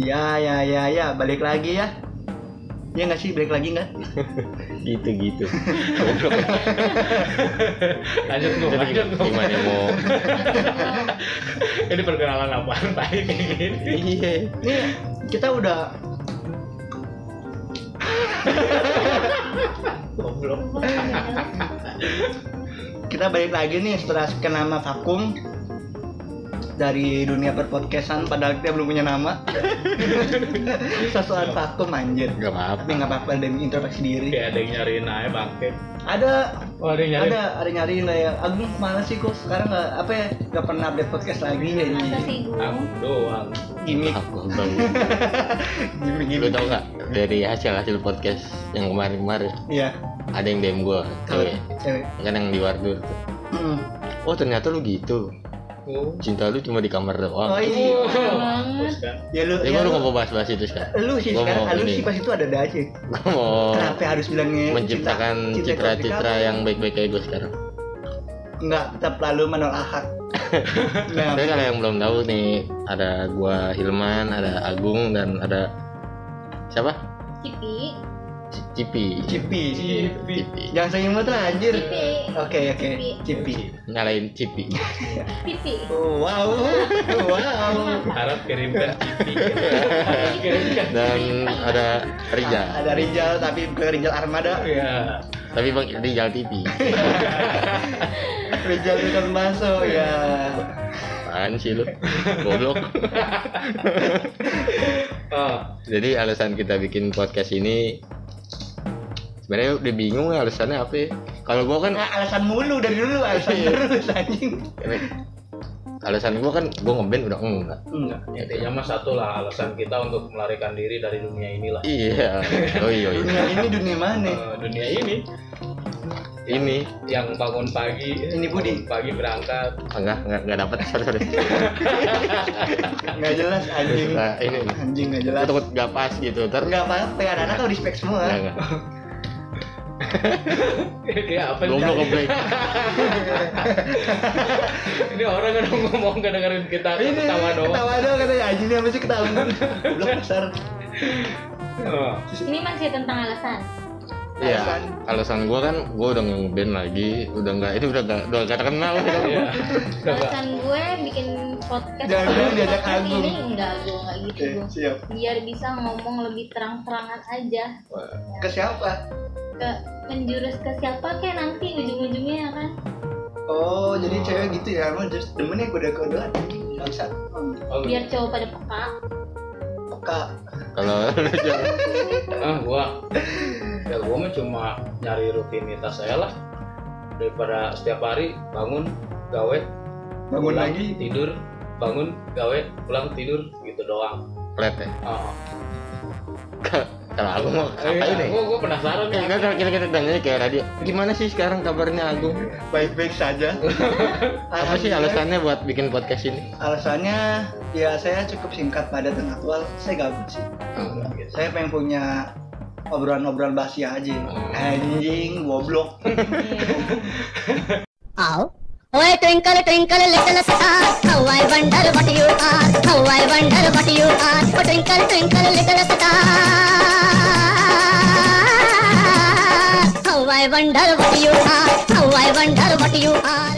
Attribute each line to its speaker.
Speaker 1: Ya, ya, ya, ya, balik lagi ya. Ya nggak sih, balik lagi nggak?
Speaker 2: gitu gitu
Speaker 3: lanjut gue
Speaker 2: Jadi
Speaker 3: lanjut
Speaker 2: gimana,
Speaker 3: gue
Speaker 2: gimana mau
Speaker 3: ini perkenalan apaan pak ini gini
Speaker 2: iya
Speaker 1: Ini kita udah
Speaker 3: goblok
Speaker 1: kita balik lagi nih setelah kenama vakum dari dunia perpodcastan padahal kita belum punya nama sesuatu vakum anjir
Speaker 2: nggak apa
Speaker 1: tapi nggak apa-apa demi introspeksi diri
Speaker 3: kayak ada yang nyariin aja bangke
Speaker 1: ada
Speaker 3: oh ada yang nyariin
Speaker 1: ada ada nyariin lah ya Agung mana sih kok sekarang nggak apa ya nggak pernah update podcast lagi ya ini
Speaker 4: masa sih gue
Speaker 3: aku doang
Speaker 1: gimmick
Speaker 2: aku bang
Speaker 1: gimmick
Speaker 2: lu
Speaker 1: gimmick
Speaker 2: tau nggak dari hasil hasil podcast yang kemarin kemarin
Speaker 1: ya
Speaker 2: ada yang dm gue
Speaker 1: Iya, kalau
Speaker 2: cewek
Speaker 1: cewek
Speaker 2: kan yang di wardur tuh.
Speaker 1: Mm.
Speaker 2: oh ternyata lu gitu
Speaker 3: oh
Speaker 2: cinta lu cuma di kamar doang
Speaker 1: oh iya
Speaker 3: terus kan
Speaker 1: ya lu
Speaker 2: ya
Speaker 1: ya
Speaker 2: gua lu
Speaker 1: lu,
Speaker 2: nggak mau bahas bahas itu sekarang
Speaker 1: lu sih
Speaker 2: Gua
Speaker 1: sekarang
Speaker 2: mau
Speaker 1: lu
Speaker 2: ini.
Speaker 1: sih pas itu ada ada aja
Speaker 2: gua mau
Speaker 1: kenapa harus bilangnya
Speaker 2: menciptakan citra-citra yang baik-baik kayak gue sekarang.
Speaker 1: nggak tetap lalu menolak nah
Speaker 2: Tapi kalau yang belum tahu nih ada gua Hilman, ada Agung dan ada siapa?
Speaker 4: Cipi
Speaker 2: C- Cipi.
Speaker 1: cipi
Speaker 3: cipi
Speaker 2: Cipi.
Speaker 1: jangan sayang banget lah anjir
Speaker 4: Cipi
Speaker 1: oke oke cipi
Speaker 2: Nyalain Cipi.
Speaker 4: Cipi
Speaker 2: Oh,
Speaker 1: wow wow
Speaker 3: harap kirimkan cipi harap kirimkan
Speaker 2: Dan ada Rijal.
Speaker 1: ada Rijal tapi bukan Rijal Armada
Speaker 3: ya
Speaker 2: Tapi Bang Rijal TV.
Speaker 1: Rijal bukan masuk ya
Speaker 2: Apaan sih lu? Goblok.
Speaker 3: oh
Speaker 2: Jadi alasan kita bikin podcast ini sebenarnya udah bingung ya alasannya apa ya. Kalau gua kan
Speaker 1: nah, alasan mulu dari dulu alasan
Speaker 2: Iya.
Speaker 1: terus anjing
Speaker 2: alasan gua kan gua ngeband udah enggak.
Speaker 1: enggak
Speaker 3: intinya mah satu lah alasan kita untuk melarikan diri dari dunia inilah
Speaker 2: Iya. Oh iya. iya.
Speaker 1: dunia ini dunia mana
Speaker 3: Eh, dunia ini
Speaker 2: Ini
Speaker 3: yang bangun pagi
Speaker 1: Ini Budi.
Speaker 3: bangun pagi berangkat
Speaker 2: enggak enggak enggak dapat sorry sorry
Speaker 1: nggak jelas anjing
Speaker 2: Nah, ini
Speaker 1: anjing nggak
Speaker 2: Gua
Speaker 1: jelas
Speaker 2: takut nggak pas gitu ter
Speaker 1: nggak apa-apa anak-anak tuh respect semua
Speaker 2: nggak nggak
Speaker 3: ya apa
Speaker 2: goblok
Speaker 3: ini
Speaker 2: goblok
Speaker 3: ini orang kan ngomong gak dengerin kita
Speaker 1: ini
Speaker 3: ketawa doang
Speaker 1: ketawa doang katanya anjing dia masih ketawa goblok besar
Speaker 3: Oh,
Speaker 4: Ini masih tentang alasan
Speaker 2: iya
Speaker 1: Alasan.
Speaker 2: alasan gua kan gua udah nggak ngeband lagi udah nggak itu udah nggak udah nggak terkenal kan.
Speaker 3: iya. Udah nggak-
Speaker 4: Alasan gue bikin podcast
Speaker 1: Jangan bilang diajak
Speaker 4: Podcast
Speaker 1: Agung.
Speaker 4: ini Enggak, gue enggak gitu
Speaker 1: oke
Speaker 4: gue
Speaker 1: siap
Speaker 4: Biar bisa ngomong lebih terang-terangan aja
Speaker 1: ke siapa
Speaker 4: ke menjurus ke siapa kayak nanti ujung-ujungnya ya kan
Speaker 1: oh jadi cewek gitu ya emang just demennya kode-kodean bisa
Speaker 3: Oh,
Speaker 1: iya.
Speaker 4: biar cowok pada peka
Speaker 1: peka
Speaker 2: kalau
Speaker 3: ah gua ya gua mah cuma nyari rutinitas saya lah daripada setiap hari bangun gawe
Speaker 1: bangun
Speaker 3: pulang,
Speaker 1: lagi
Speaker 3: tidur bangun gawe pulang tidur gitu doang
Speaker 2: flat ya
Speaker 3: oh.
Speaker 2: Ka- kalau aku mau apa
Speaker 3: Iya,
Speaker 2: ini
Speaker 3: gua, gua penasaran
Speaker 2: Eh, enggak kalau kita kita tanya kayak radio gimana sih sekarang kabarnya Agung
Speaker 1: baik-baik saja
Speaker 2: apa sih alasannya buat bikin podcast ini
Speaker 1: alasannya ya saya cukup singkat padat dan aktual saya gabut sih
Speaker 3: Gitu.
Speaker 1: saya pengen punya obrolan-obrolan bahasia aja anjing goblok
Speaker 5: Ow. Oh, twinkle, twinkle, little star, how I wonder what you are, how I wonder what you are. Oh, twinkle, twinkle, little star, how I wonder what you are, how I wonder what you are.